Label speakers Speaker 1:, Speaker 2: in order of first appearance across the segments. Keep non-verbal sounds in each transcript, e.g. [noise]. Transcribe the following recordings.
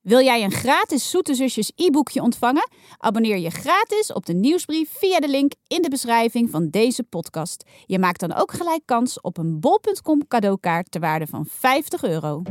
Speaker 1: Wil jij een gratis Zoete Zusjes e-boekje ontvangen? Abonneer je gratis op de nieuwsbrief via de link in de beschrijving van deze podcast. Je maakt dan ook gelijk kans op een bol.com cadeaukaart ter waarde van 50 euro.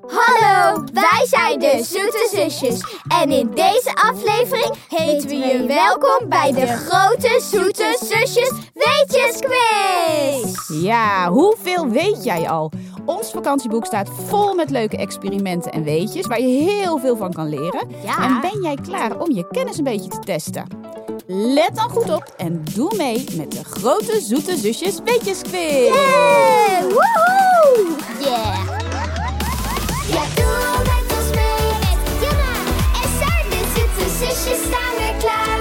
Speaker 2: Hallo, wij zijn de Zoete Zusjes. En in deze aflevering heten we je welkom bij de grote Zoete Zusjes Weetjesquiz.
Speaker 1: Ja, hoeveel weet jij al? Ons vakantieboek staat vol met leuke experimenten en weetjes waar je heel veel van kan leren.
Speaker 2: Ja.
Speaker 1: En ben jij klaar om je kennis een beetje te testen? Let dan goed op en doe mee met de grote Zoete Zusjes Weetjes Quiz.
Speaker 2: Hey, woehoe! Yeah! Ja, doe met ons mee met Jana en Saar, de Zoete Zusjes staan weer klaar.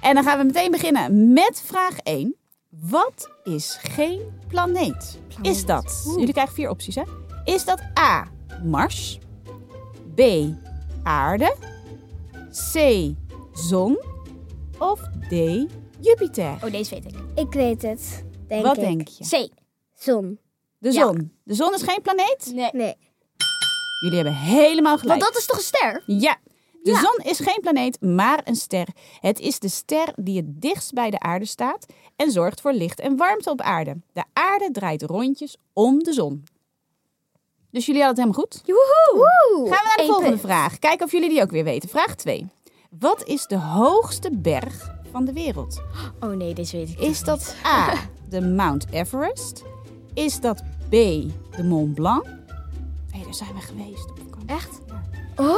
Speaker 1: En dan gaan we meteen beginnen met vraag 1. Wat is geen planeet? Is dat? Jullie krijgen vier opties, hè? Is dat A. Mars? B. Aarde? C. Zon? Of D. Jupiter?
Speaker 2: [laughs] Oh, deze weet ik.
Speaker 3: Ik weet het, denk
Speaker 1: Wat
Speaker 3: ik.
Speaker 1: denk je?
Speaker 2: C.
Speaker 3: Zon.
Speaker 1: De
Speaker 2: Ja.
Speaker 1: zon. De zon is geen planeet?
Speaker 2: Nee.
Speaker 3: Nee.
Speaker 1: Jullie hebben helemaal gelijk.
Speaker 2: Want dat is toch een ster?
Speaker 1: Ja. De
Speaker 2: Ja.
Speaker 1: zon is geen planeet, maar een ster. Het is de ster die het dichtst bij de aarde staat en zorgt voor licht en warmte op aarde. De aarde draait rondjes om de zon. Dus jullie hadden het helemaal goed?
Speaker 2: Woehoe!
Speaker 1: Gaan we naar de
Speaker 2: Eén
Speaker 1: volgende
Speaker 2: punt.
Speaker 1: vraag. Kijken of jullie die ook weer weten. Vraag 2. Wat is de hoogste berg van de wereld?
Speaker 2: Oh nee, deze weet ik.
Speaker 1: Is dat A,
Speaker 2: [laughs]
Speaker 1: de Mount Everest? Is dat B, de Mont Blanc? Hé, daar zijn we geweest op vakantie.
Speaker 2: Echt?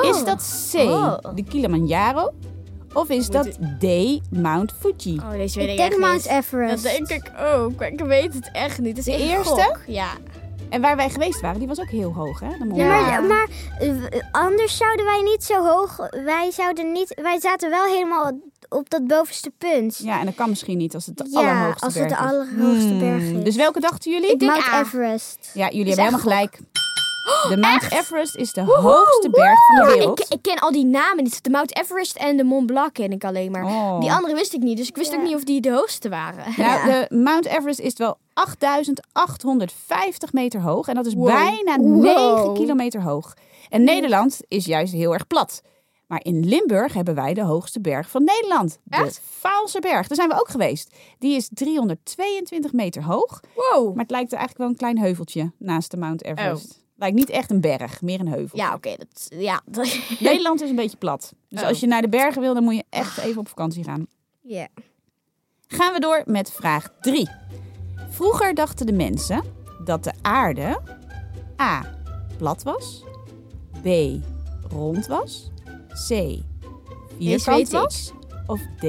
Speaker 1: Is dat C,
Speaker 2: Oh.
Speaker 1: de Kilimanjaro? Of is dat D, Mount Fuji?
Speaker 2: Oh, deze weet
Speaker 3: Ik
Speaker 2: ik,
Speaker 3: denk
Speaker 2: echt
Speaker 3: Mount
Speaker 2: niet.
Speaker 3: Everest.
Speaker 2: Dat denk ik ook, maar ik weet het echt niet. Het is
Speaker 1: De
Speaker 2: echt een
Speaker 1: eerste?
Speaker 2: gok. Ja.
Speaker 1: En waar wij geweest waren, die was ook heel hoog, hè? De Mont
Speaker 3: Ja,
Speaker 1: Blanc.
Speaker 3: maar, maar eh, anders zouden wij niet zo hoog... Wij, zouden niet, wij zaten wel helemaal op dat bovenste punt.
Speaker 1: Ja, en dat kan misschien niet als het de
Speaker 3: Ja,
Speaker 1: allerhoogste
Speaker 3: als het
Speaker 1: berg
Speaker 3: de
Speaker 1: is.
Speaker 3: allerhoogste
Speaker 1: Hmm.
Speaker 3: berg is.
Speaker 1: Dus welke dachten jullie?
Speaker 2: denk
Speaker 3: Mount
Speaker 2: A.
Speaker 3: Everest.
Speaker 1: Ja, jullie
Speaker 2: Is
Speaker 1: hebben helemaal
Speaker 2: echt
Speaker 1: gelijk. De Mount Everest is de hoogste berg van de
Speaker 2: Maar
Speaker 1: wereld.
Speaker 2: ik, ik ken al die namen niet. De Mount Everest en de Mont Blanc ken ik alleen maar.
Speaker 1: Oh.
Speaker 2: Die andere wist ik niet, dus ik wist ook niet of die de hoogste waren. [laughs]
Speaker 1: Nou, de Mount Everest is wel 8850 meter hoog. En dat is
Speaker 2: Wow.
Speaker 1: bijna
Speaker 2: Wow.
Speaker 1: 9 kilometer hoog. En Nederland is juist heel erg plat. Maar in Limburg hebben wij de hoogste berg van Nederland.
Speaker 2: Echt?
Speaker 1: De Vaalserberg. Daar zijn we ook geweest. Die is 322 meter hoog.
Speaker 2: Wow.
Speaker 1: Maar het lijkt eigenlijk wel een klein heuveltje naast de Mount Everest. Lijkt niet echt een berg, meer een heuvel.
Speaker 2: Oh. Ja, oké. dat, ja. [laughs]
Speaker 1: Nederland is een beetje plat. Dus
Speaker 2: Oh.
Speaker 1: als je naar de bergen wil, dan moet je echt even op vakantie gaan.
Speaker 3: Ja.
Speaker 1: Gaan we door met vraag 3. Vroeger dachten de mensen dat de aarde A. plat was, B. rond was, C. vierkant
Speaker 2: weet ik.
Speaker 1: was of D.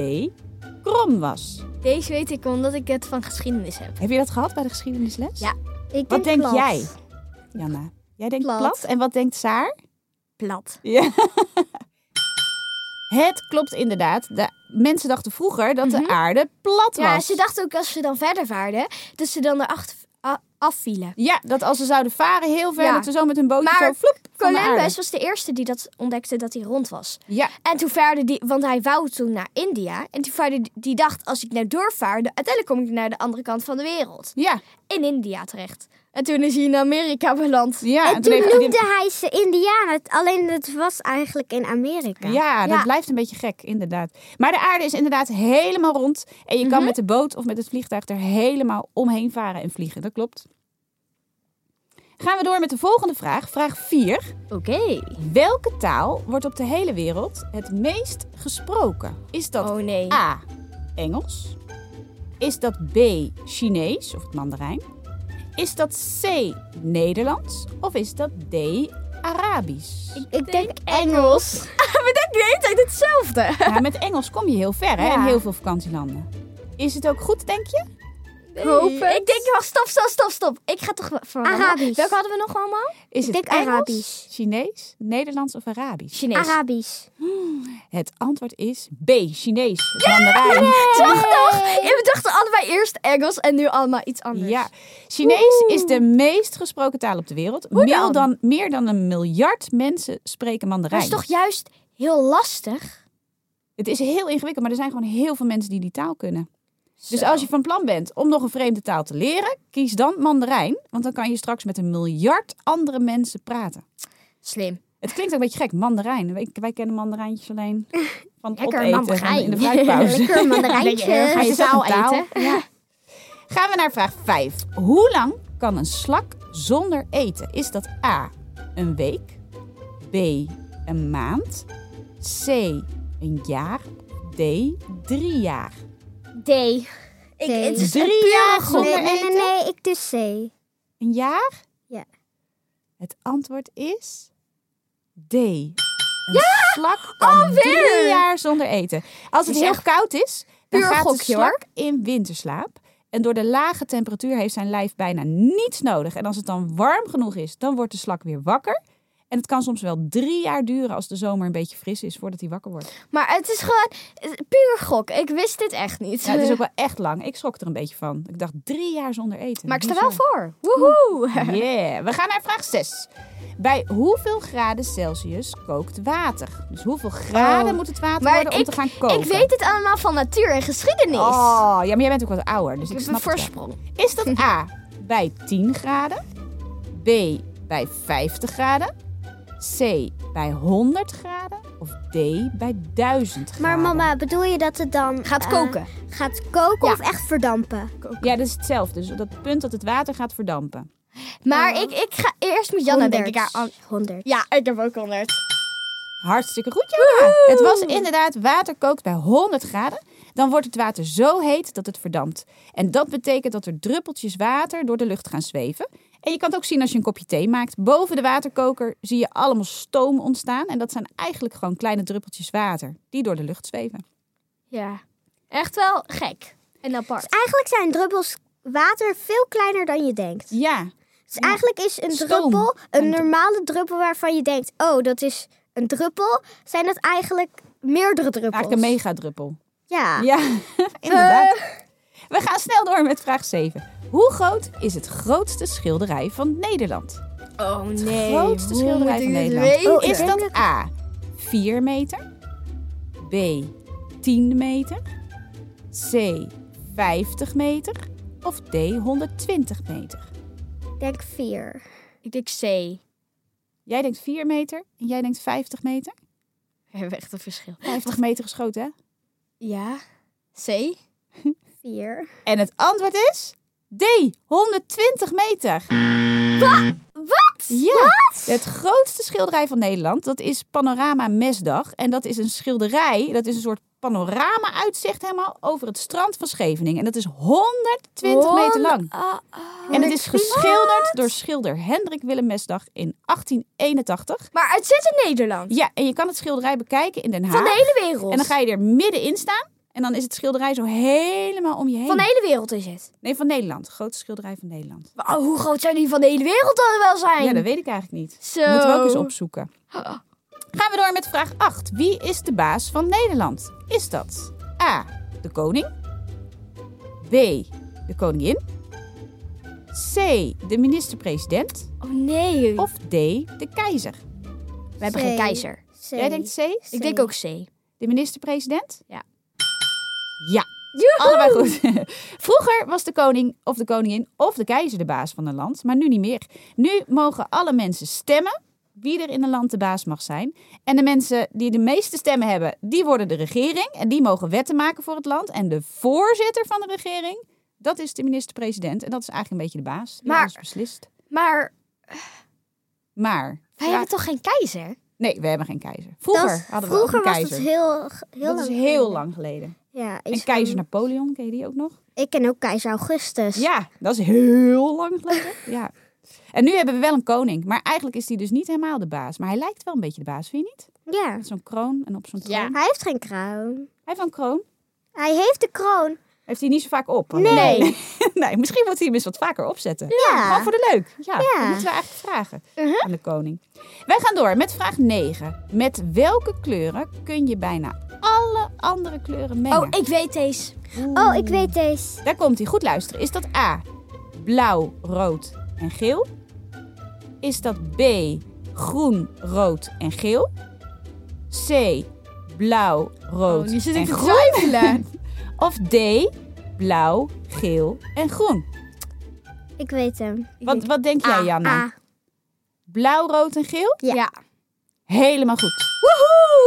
Speaker 1: krom was.
Speaker 2: Deze weet ik omdat ik het van geschiedenis heb.
Speaker 1: Heb je dat gehad bij de geschiedenisles?
Speaker 2: Ja.
Speaker 3: Ik
Speaker 1: Wat denk
Speaker 3: plat.
Speaker 1: jij, Janna? Jij denkt plat.
Speaker 3: Plat.
Speaker 1: en wat denkt Saar?
Speaker 2: Plat.
Speaker 1: Ja. [laughs] Het klopt inderdaad. De mensen dachten vroeger dat de aarde plat was.
Speaker 2: Ja, Ah, ze dachten ook als ze dan verder vaarden, dat ze dan erachter a- afvielen.
Speaker 1: Ja, dat als ze zouden varen heel ver,
Speaker 2: Ja.
Speaker 1: dat ze zo met hun bootje
Speaker 2: Maar
Speaker 1: zo floep van de
Speaker 2: Columbus
Speaker 1: aarde.
Speaker 2: was de eerste die dat ontdekte dat hij rond was.
Speaker 1: Ja,
Speaker 2: En toen vaarde die, want hij wou toen naar India. En toen vaarde die- die dacht, als ik nou doorvaarde, uiteindelijk kom ik naar de andere kant van de wereld.
Speaker 1: ja,
Speaker 2: In India terecht. En toen is hij in Amerika beland.
Speaker 1: ja.
Speaker 3: en toen
Speaker 1: heeft hij
Speaker 3: noemde
Speaker 1: die-
Speaker 3: hij ze Indianen, alleen het was eigenlijk in Amerika.
Speaker 1: Ja, dat
Speaker 2: Ja.
Speaker 1: blijft een beetje gek, inderdaad. Maar de aarde is inderdaad helemaal rond. En je
Speaker 2: Mhm.
Speaker 1: kan met de boot of met het vliegtuig er helemaal omheen varen en vliegen. Dat klopt. Gaan we door met de volgende vraag. Vraag 4.
Speaker 2: Oké.
Speaker 1: Welke taal wordt op de hele wereld het meest gesproken? Is dat
Speaker 2: Oh nee.
Speaker 1: A. Engels? Is dat B. Chinees of het Mandarijn? Is dat C. Nederlands? Of is dat D.
Speaker 2: [laughs]
Speaker 1: Arabisch?
Speaker 3: Ik denk
Speaker 2: Engels. We denken de hele tijd hetzelfde.
Speaker 1: Ja, Nou, met Engels kom je heel ver, hè?
Speaker 2: Ja.
Speaker 1: In heel veel vakantielanden. Is het ook goed, denk je?
Speaker 2: Ik denk, wacht, stop, stop, stop, stop. Ik ga toch voor
Speaker 3: Arabisch.
Speaker 2: Welke hadden we nog allemaal?
Speaker 1: Is
Speaker 3: Ik
Speaker 1: het
Speaker 3: denk
Speaker 1: Engels,
Speaker 3: Arabisch.
Speaker 1: Chinees, Nederlands of Arabisch?
Speaker 2: Chinees.
Speaker 3: Arabisch.
Speaker 1: Het antwoord is B. Chinees, het Mandarijn.
Speaker 2: Toch, toch? Ja, we dachten allebei eerst Engels en nu allemaal iets anders.
Speaker 1: Ja, Chinees is de meest gesproken taal op de wereld. Meer
Speaker 2: dan?
Speaker 1: dan, meer dan een miljard mensen spreken
Speaker 2: Dat
Speaker 1: Mandarijn.
Speaker 2: is toch juist heel lastig?
Speaker 1: Het is heel ingewikkeld, maar er zijn gewoon heel veel mensen die die taal kunnen. Dus
Speaker 2: Zo.
Speaker 1: als je van plan bent om nog een vreemde taal te leren, kies dan Mandarijn. Want dan kan je straks met een miljard andere mensen praten.
Speaker 4: Slim.
Speaker 1: Het klinkt ook een beetje gek, mandarijn. Wij, wij kennen mandarijntjes
Speaker 4: [laughs]
Speaker 1: alleen van het
Speaker 4: Lekker
Speaker 1: opeten van
Speaker 4: mandarijn.
Speaker 2: [laughs]
Speaker 1: in de
Speaker 4: [laughs]
Speaker 1: fruitpauze. [laughs]
Speaker 3: Lekker
Speaker 4: Lekker, Ga
Speaker 3: mandarijntje.
Speaker 4: je
Speaker 1: Is dat
Speaker 4: zaal
Speaker 1: een taal?
Speaker 4: eten? Ja.
Speaker 1: [laughs] Gaan we naar vraag 5. Hoe lang kan een slak zonder eten? Is dat A, een week, B, een maand, C, een jaar, D, drie jaar?
Speaker 4: D. Ik, het is
Speaker 1: Drie
Speaker 4: een puur
Speaker 1: jaar
Speaker 4: gok.
Speaker 1: zonder
Speaker 3: Nee, nee, nee,
Speaker 1: eten?
Speaker 3: nee, ik dus C.
Speaker 1: Een jaar?
Speaker 3: Ja.
Speaker 1: Het antwoord is D. Een slak kan drie jaar zonder eten. Als het
Speaker 4: is
Speaker 1: heel
Speaker 4: echt
Speaker 1: koud is, dan
Speaker 4: puur
Speaker 1: gaat de
Speaker 4: gokje, hoor.
Speaker 1: slak in winterslaap. En door de lage temperatuur heeft zijn lijf bijna niets nodig. En als het dan warm genoeg is, dan wordt de slak weer wakker. En het kan soms wel drie jaar duren als de zomer een beetje fris is voordat hij wakker wordt.
Speaker 4: Maar het is gewoon eh, puur gok. Ik wist dit echt niet.
Speaker 1: Ja, het is ook wel echt lang. Ik schrok er een beetje van. Ik dacht drie jaar zonder eten.
Speaker 4: Maar ik sta
Speaker 1: Bizar.
Speaker 4: wel voor. Woehoe.
Speaker 1: [laughs]
Speaker 2: [laughs]
Speaker 1: Yeah, we gaan naar vraag 6. Bij hoeveel graden Celsius kookt water? Dus hoeveel graden
Speaker 4: Oh,
Speaker 1: moet het water
Speaker 4: maar
Speaker 1: worden om
Speaker 4: ik-
Speaker 1: te gaan koken?
Speaker 4: Ik weet het allemaal van natuur en geschiedenis.
Speaker 1: Oh, ja, maar jij bent ook wat ouder, dus
Speaker 4: ik
Speaker 1: ik
Speaker 4: heb een
Speaker 1: snap het wel.
Speaker 4: voorsprong.
Speaker 1: Is
Speaker 4: [laughs]
Speaker 1: dat A, bij 10 graden? B, bij 50 graden? C, bij 100 graden? Of D, bij 1000 graden?
Speaker 3: Maar mama, bedoel je dat het dan...
Speaker 4: Gaat
Speaker 3: eh,
Speaker 4: koken.
Speaker 3: Gaat koken
Speaker 4: Ja.
Speaker 3: of echt verdampen?
Speaker 1: Ja, dat is hetzelfde. Dus op dat punt dat het water gaat verdampen.
Speaker 4: Maar
Speaker 1: Oh.
Speaker 4: ik, ik ga eerst met Janne, denk ik. Ja, an-
Speaker 3: 100.
Speaker 4: ja, ik heb ook 100.
Speaker 1: Hartstikke goed, Jola. Het was inderdaad, water kookt bij 100 graden. Dan wordt het water zo heet dat het verdampt. En dat betekent dat er druppeltjes water door de lucht gaan zweven. En je kan het ook zien als je een kopje thee maakt. Boven de waterkoker zie je allemaal stoom ontstaan. En dat zijn eigenlijk gewoon kleine druppeltjes water die door de lucht zweven.
Speaker 4: Ja. Echt wel gek. En apart.
Speaker 3: Dus Eigenlijk zijn druppels water veel kleiner dan je denkt.
Speaker 1: Ja,
Speaker 3: Dus eigenlijk is een
Speaker 1: Stoom.
Speaker 3: druppel, een
Speaker 1: Een-
Speaker 3: normale druppel waarvan je denkt, oh, dat is een druppel, zijn dat eigenlijk meerdere druppels.
Speaker 1: eigenlijk een megadruppel.
Speaker 3: Ja.
Speaker 1: Ja, [laughs] inderdaad. We gaan snel door met vraag 7. Hoe groot is het grootste schilderij van Nederland?
Speaker 4: Oh nee.
Speaker 1: grootste schilderij van Nederland.
Speaker 3: Oh,
Speaker 1: Is
Speaker 3: Ik denk
Speaker 1: dat A, 4 meter? B, 10 meter? C, 50 meter? Of D, 120 meter?
Speaker 3: Ik denk vier.
Speaker 4: Ik denk C.
Speaker 1: Jij denkt 4 meter en jij denkt 50 meter?
Speaker 4: We hebben echt een verschil.
Speaker 1: 50 meter geschoten, hè?
Speaker 4: Ja. C.
Speaker 3: Vier.
Speaker 1: En het antwoord is D, 120 meter. wat? Ja, het grootste schilderij van Nederland, dat is Panorama Mesdag. En dat is een schilderij, dat is een soort panorama-uitzicht helemaal over het strand van Scheveningen. En dat is 120 meter lang.
Speaker 4: Ah,
Speaker 1: En het is geschilderd door schilder Hendrik Willem Mesdag in 1881.
Speaker 4: Maar het zit in Nederland.
Speaker 1: Ja, en je kan het schilderij bekijken in Den Haag.
Speaker 4: Van de hele wereld.
Speaker 1: En dan ga je er middenin staan. En dan is het schilderij zo helemaal om je heen.
Speaker 4: Van de hele wereld is het.
Speaker 1: Nee, van Nederland. Grootste schilderij van Nederland.
Speaker 4: Oh, hoe groot zou die van de hele wereld dan wel zijn?
Speaker 1: Ja, dat weet ik eigenlijk niet.
Speaker 4: Zo.
Speaker 1: Moeten we ook eens opzoeken. Gaan we door met vraag 8. Wie is de baas van Nederland? Is dat A. De koning? B. De koningin? C. De minister-president?
Speaker 4: Oh nee.
Speaker 1: Of D. De keizer?
Speaker 4: we hebben geen
Speaker 3: C.
Speaker 4: keizer.
Speaker 3: C.
Speaker 1: Jij denkt C?
Speaker 4: Ik denk ook C.
Speaker 1: De minister-president?
Speaker 4: Ja.
Speaker 1: Ja, allebei goed. [laughs] Vroeger was de koning of de koningin of de keizer de baas van een land, maar nu niet meer. Nu mogen alle mensen stemmen wie er in een land de baas mag zijn. En de mensen die de meeste stemmen hebben, die worden de regering en die mogen wetten maken voor het land. En de voorzitter van de regering, dat is de minister-president en dat is eigenlijk een beetje de baas die
Speaker 4: Maar-
Speaker 1: alles beslist.
Speaker 4: Maar
Speaker 1: Maar
Speaker 4: wij
Speaker 1: vraag-
Speaker 4: hebben toch geen keizer?
Speaker 1: nee, we hebben geen keizer. Vroeger hadden we
Speaker 3: vroeger
Speaker 1: ook een
Speaker 3: was
Speaker 1: keizer.
Speaker 3: het heel, heel
Speaker 1: dat
Speaker 3: lang.
Speaker 1: is
Speaker 3: geleden.
Speaker 1: heel lang geleden.
Speaker 3: Ja,
Speaker 1: En
Speaker 3: iets
Speaker 1: keizer
Speaker 3: van-
Speaker 1: Napoleon, ken je die ook nog?
Speaker 3: Ik ken ook keizer Augustus.
Speaker 1: Ja, dat is heel lang geleden. Ja. En nu hebben we wel een koning. Maar eigenlijk is hij dus niet helemaal de baas. Maar hij lijkt wel een beetje de baas, vind je niet?
Speaker 3: Ja.
Speaker 1: Met zo'n kroon en op zo'n kroon.
Speaker 4: Ja.
Speaker 1: Hij
Speaker 3: Hij heeft geen kroon.
Speaker 1: heeft wel een kroon.
Speaker 3: Hij heeft de kroon.
Speaker 1: Heeft hij niet zo vaak op.
Speaker 3: Nee.
Speaker 1: Nee, [laughs] Nee, misschien moet hij hem eens wat vaker opzetten.
Speaker 3: Ja.
Speaker 1: Gewoon voor de leuk. Ja,
Speaker 3: Ja.
Speaker 1: dat moeten we eigenlijk vragen aan de koning. Wij gaan door met vraag 9. Met welke kleuren kun je bijna alle andere kleuren mengen?
Speaker 4: Oh, ik weet deze.
Speaker 3: Oh, ik weet deze.
Speaker 1: Daar komt hij. Goed luisteren. Is dat A, blauw, rood en geel? Is dat B, groen, rood en geel? C, blauw, rood
Speaker 4: Oh, nu zit
Speaker 1: en
Speaker 4: ik te
Speaker 1: groen?
Speaker 4: twijfelen.
Speaker 1: [laughs] Of D, blauw, geel en groen?
Speaker 3: Ik weet hem.
Speaker 1: Wat, wat denk jij, Janne?
Speaker 3: Ah,
Speaker 1: blauw, rood en geel?
Speaker 3: Ja.
Speaker 1: Helemaal goed.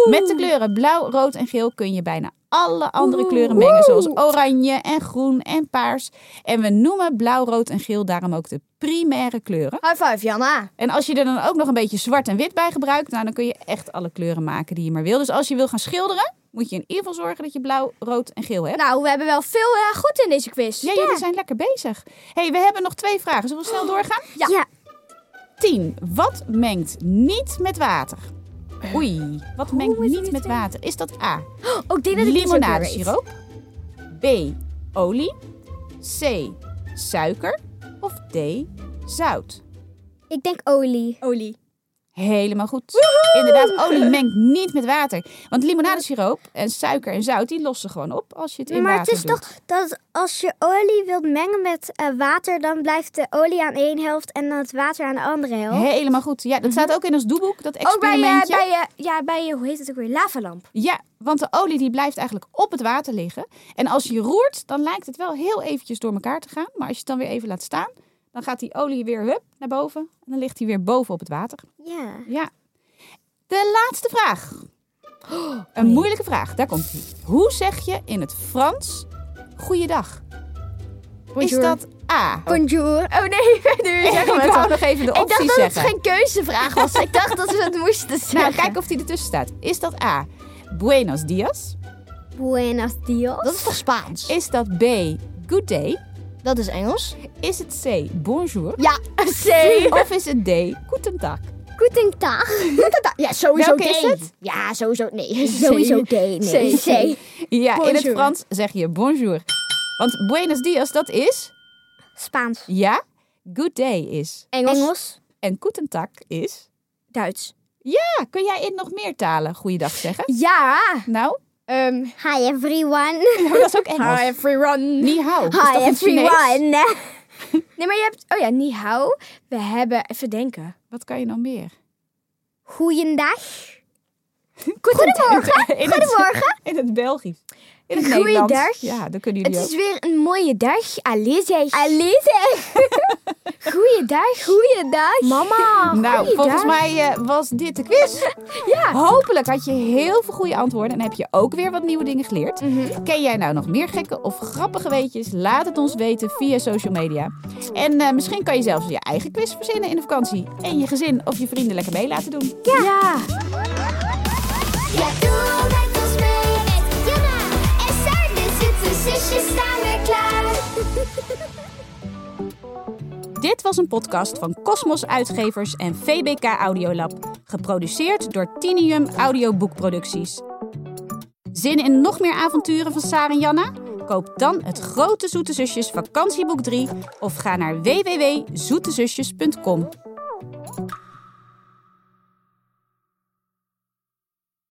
Speaker 1: Met de kleuren blauw, rood en geel kun je bijna alle andere kleuren mengen. Zoals oranje en groen en paars. En we noemen blauw, rood en geel daarom ook de primaire kleuren.
Speaker 4: High five, Janna.
Speaker 1: En als je er dan ook nog een beetje zwart en wit bij gebruikt, nou, dan kun je echt alle kleuren maken die je maar wil. Dus als je wil gaan schilderen, moet je in ieder geval zorgen dat je blauw, rood en geel hebt.
Speaker 4: Nou, we hebben wel veel eh, goed in deze quiz.
Speaker 1: ja, jullie zijn lekker bezig. hey, we hebben nog twee vragen. Zullen we snel doorgaan?
Speaker 4: Oh, Ja.
Speaker 3: Ja.
Speaker 1: 10. Wat mengt niet met water?
Speaker 4: Eh.
Speaker 1: Oei, wat mengt
Speaker 4: moet je
Speaker 1: niet
Speaker 4: dit
Speaker 1: met
Speaker 4: weten?
Speaker 1: water? Is dat A,
Speaker 4: Ook dit dat ik dit ook weer weet.
Speaker 1: limonadesiroop? B, olie? C, suiker? Of D, zout?
Speaker 3: Ik denk olie.
Speaker 4: Olie.
Speaker 1: Helemaal goed. Inderdaad, olie mengt niet met water. Want limonadesiroop en suiker en zout, die lossen gewoon op als je het in
Speaker 3: maar het
Speaker 1: water
Speaker 3: is
Speaker 1: doet.
Speaker 3: toch dat als je olie wilt mengen met eh, water, dan blijft de olie aan één helft en dan het water aan de andere helft.
Speaker 1: Helemaal goed. Ja, dat staat ook in ons doeboek, dat
Speaker 4: Ook bij, eh,
Speaker 1: experimentje.
Speaker 4: bij, eh, ja, bij, eh, hoe heet het ook weer? Lavalamp.
Speaker 1: Ja, want de olie die blijft eigenlijk op het water liggen. En als je roert, dan lijkt het wel heel eventjes door elkaar te gaan. Maar als je het dan weer even laat staan, dan gaat die olie weer hup, naar boven. En dan ligt die weer boven op het water.
Speaker 3: Ja.
Speaker 1: Ja. De laatste vraag. [gasps] Oh, Een moeilijke vraag, daar komt ie. Hoe zeg je in het Frans goeiedag? Is dat A?
Speaker 3: Bonjour.
Speaker 4: Oh nee, nu
Speaker 1: Ik
Speaker 4: zeggen we het
Speaker 1: wou
Speaker 4: al.
Speaker 1: nog even de
Speaker 4: Ik dacht
Speaker 1: opties
Speaker 4: dat het
Speaker 1: zeggen.
Speaker 4: geen keuzevraag was. Ik dacht dat we het moesten
Speaker 1: Nou,
Speaker 4: zeggen.
Speaker 1: kijk of die ertussen staat. Is dat A? Buenos dias?
Speaker 3: Buenos dias.
Speaker 4: [laughs] Dat is toch Spaans?
Speaker 1: Is dat B? Good day?
Speaker 4: Dat is Engels.
Speaker 1: Is het C? Bonjour?
Speaker 4: [laughs] Ja, C.
Speaker 1: [laughs] Of is het D? Guten Tag.
Speaker 3: Guten Tag.
Speaker 4: Ja, sowieso
Speaker 1: Welke is
Speaker 4: D.
Speaker 1: het?
Speaker 4: Ja, sowieso nee.
Speaker 3: [laughs] Sowieso D. Nee.
Speaker 4: C. C.
Speaker 1: Ja, in het
Speaker 4: Bonjour.
Speaker 1: Frans zeg je bonjour. Want buenos dias, dat is,
Speaker 3: Spaans.
Speaker 1: ja, good day is.
Speaker 4: Engels.
Speaker 3: Engels.
Speaker 1: En guten Tag is...
Speaker 4: Duits.
Speaker 1: Ja, kun jij in nog meer talen goeiedag zeggen?
Speaker 4: Ja.
Speaker 1: Nou, oh,
Speaker 4: Ehm
Speaker 3: Hi everyone.
Speaker 1: dat is ook Engels.
Speaker 4: Hi everyone.
Speaker 1: Ni hao. Is dat
Speaker 3: Hi
Speaker 1: in Chinees?
Speaker 4: [laughs]
Speaker 3: everyone.
Speaker 4: Nee, maar je hebt... Oh ja, ni hao. We hebben... Even denken.
Speaker 1: Wat kan je nou meer?
Speaker 3: Goeiedag.
Speaker 1: Goedemorgen. In
Speaker 3: Goedemorgen.
Speaker 1: Het, [laughs] in het Belgisch. In het
Speaker 4: Goeiedag.
Speaker 1: Nederlands. Ja, dan kunnen
Speaker 4: Het
Speaker 1: jullie ook.
Speaker 4: is weer een mooie dag. Alice.
Speaker 3: Alice.
Speaker 4: [laughs] Goeiedag.
Speaker 3: Goeiedag.
Speaker 4: Mama.
Speaker 1: Nou,
Speaker 4: goeiedag.
Speaker 1: volgens mij eh, was dit de quiz.
Speaker 4: [laughs] Ja.
Speaker 1: Hopelijk had je heel veel goede antwoorden en heb je ook weer wat nieuwe dingen geleerd.
Speaker 4: Mhm.
Speaker 1: Ken jij nou nog meer gekke of grappige weetjes? Laat het ons weten via social media. En eh, misschien kan je zelfs je eigen quiz verzinnen in de vakantie. En je gezin of je vrienden lekker mee laten doen.
Speaker 4: Ja. ja.
Speaker 2: Ja, doe met ons mee met Jana en Saar. De Zutse zusjes staan weer klaar.
Speaker 1: Dit was een podcast van Cosmos Uitgevers en VBK Audiolab. Geproduceerd door Tinium Audioboekproducties. Zin in nog meer avonturen van Sarah en Janna? Koop dan het Grote Zoete Zusjes Vakantieboek 3 of ga naar www.zoetezusjes.com.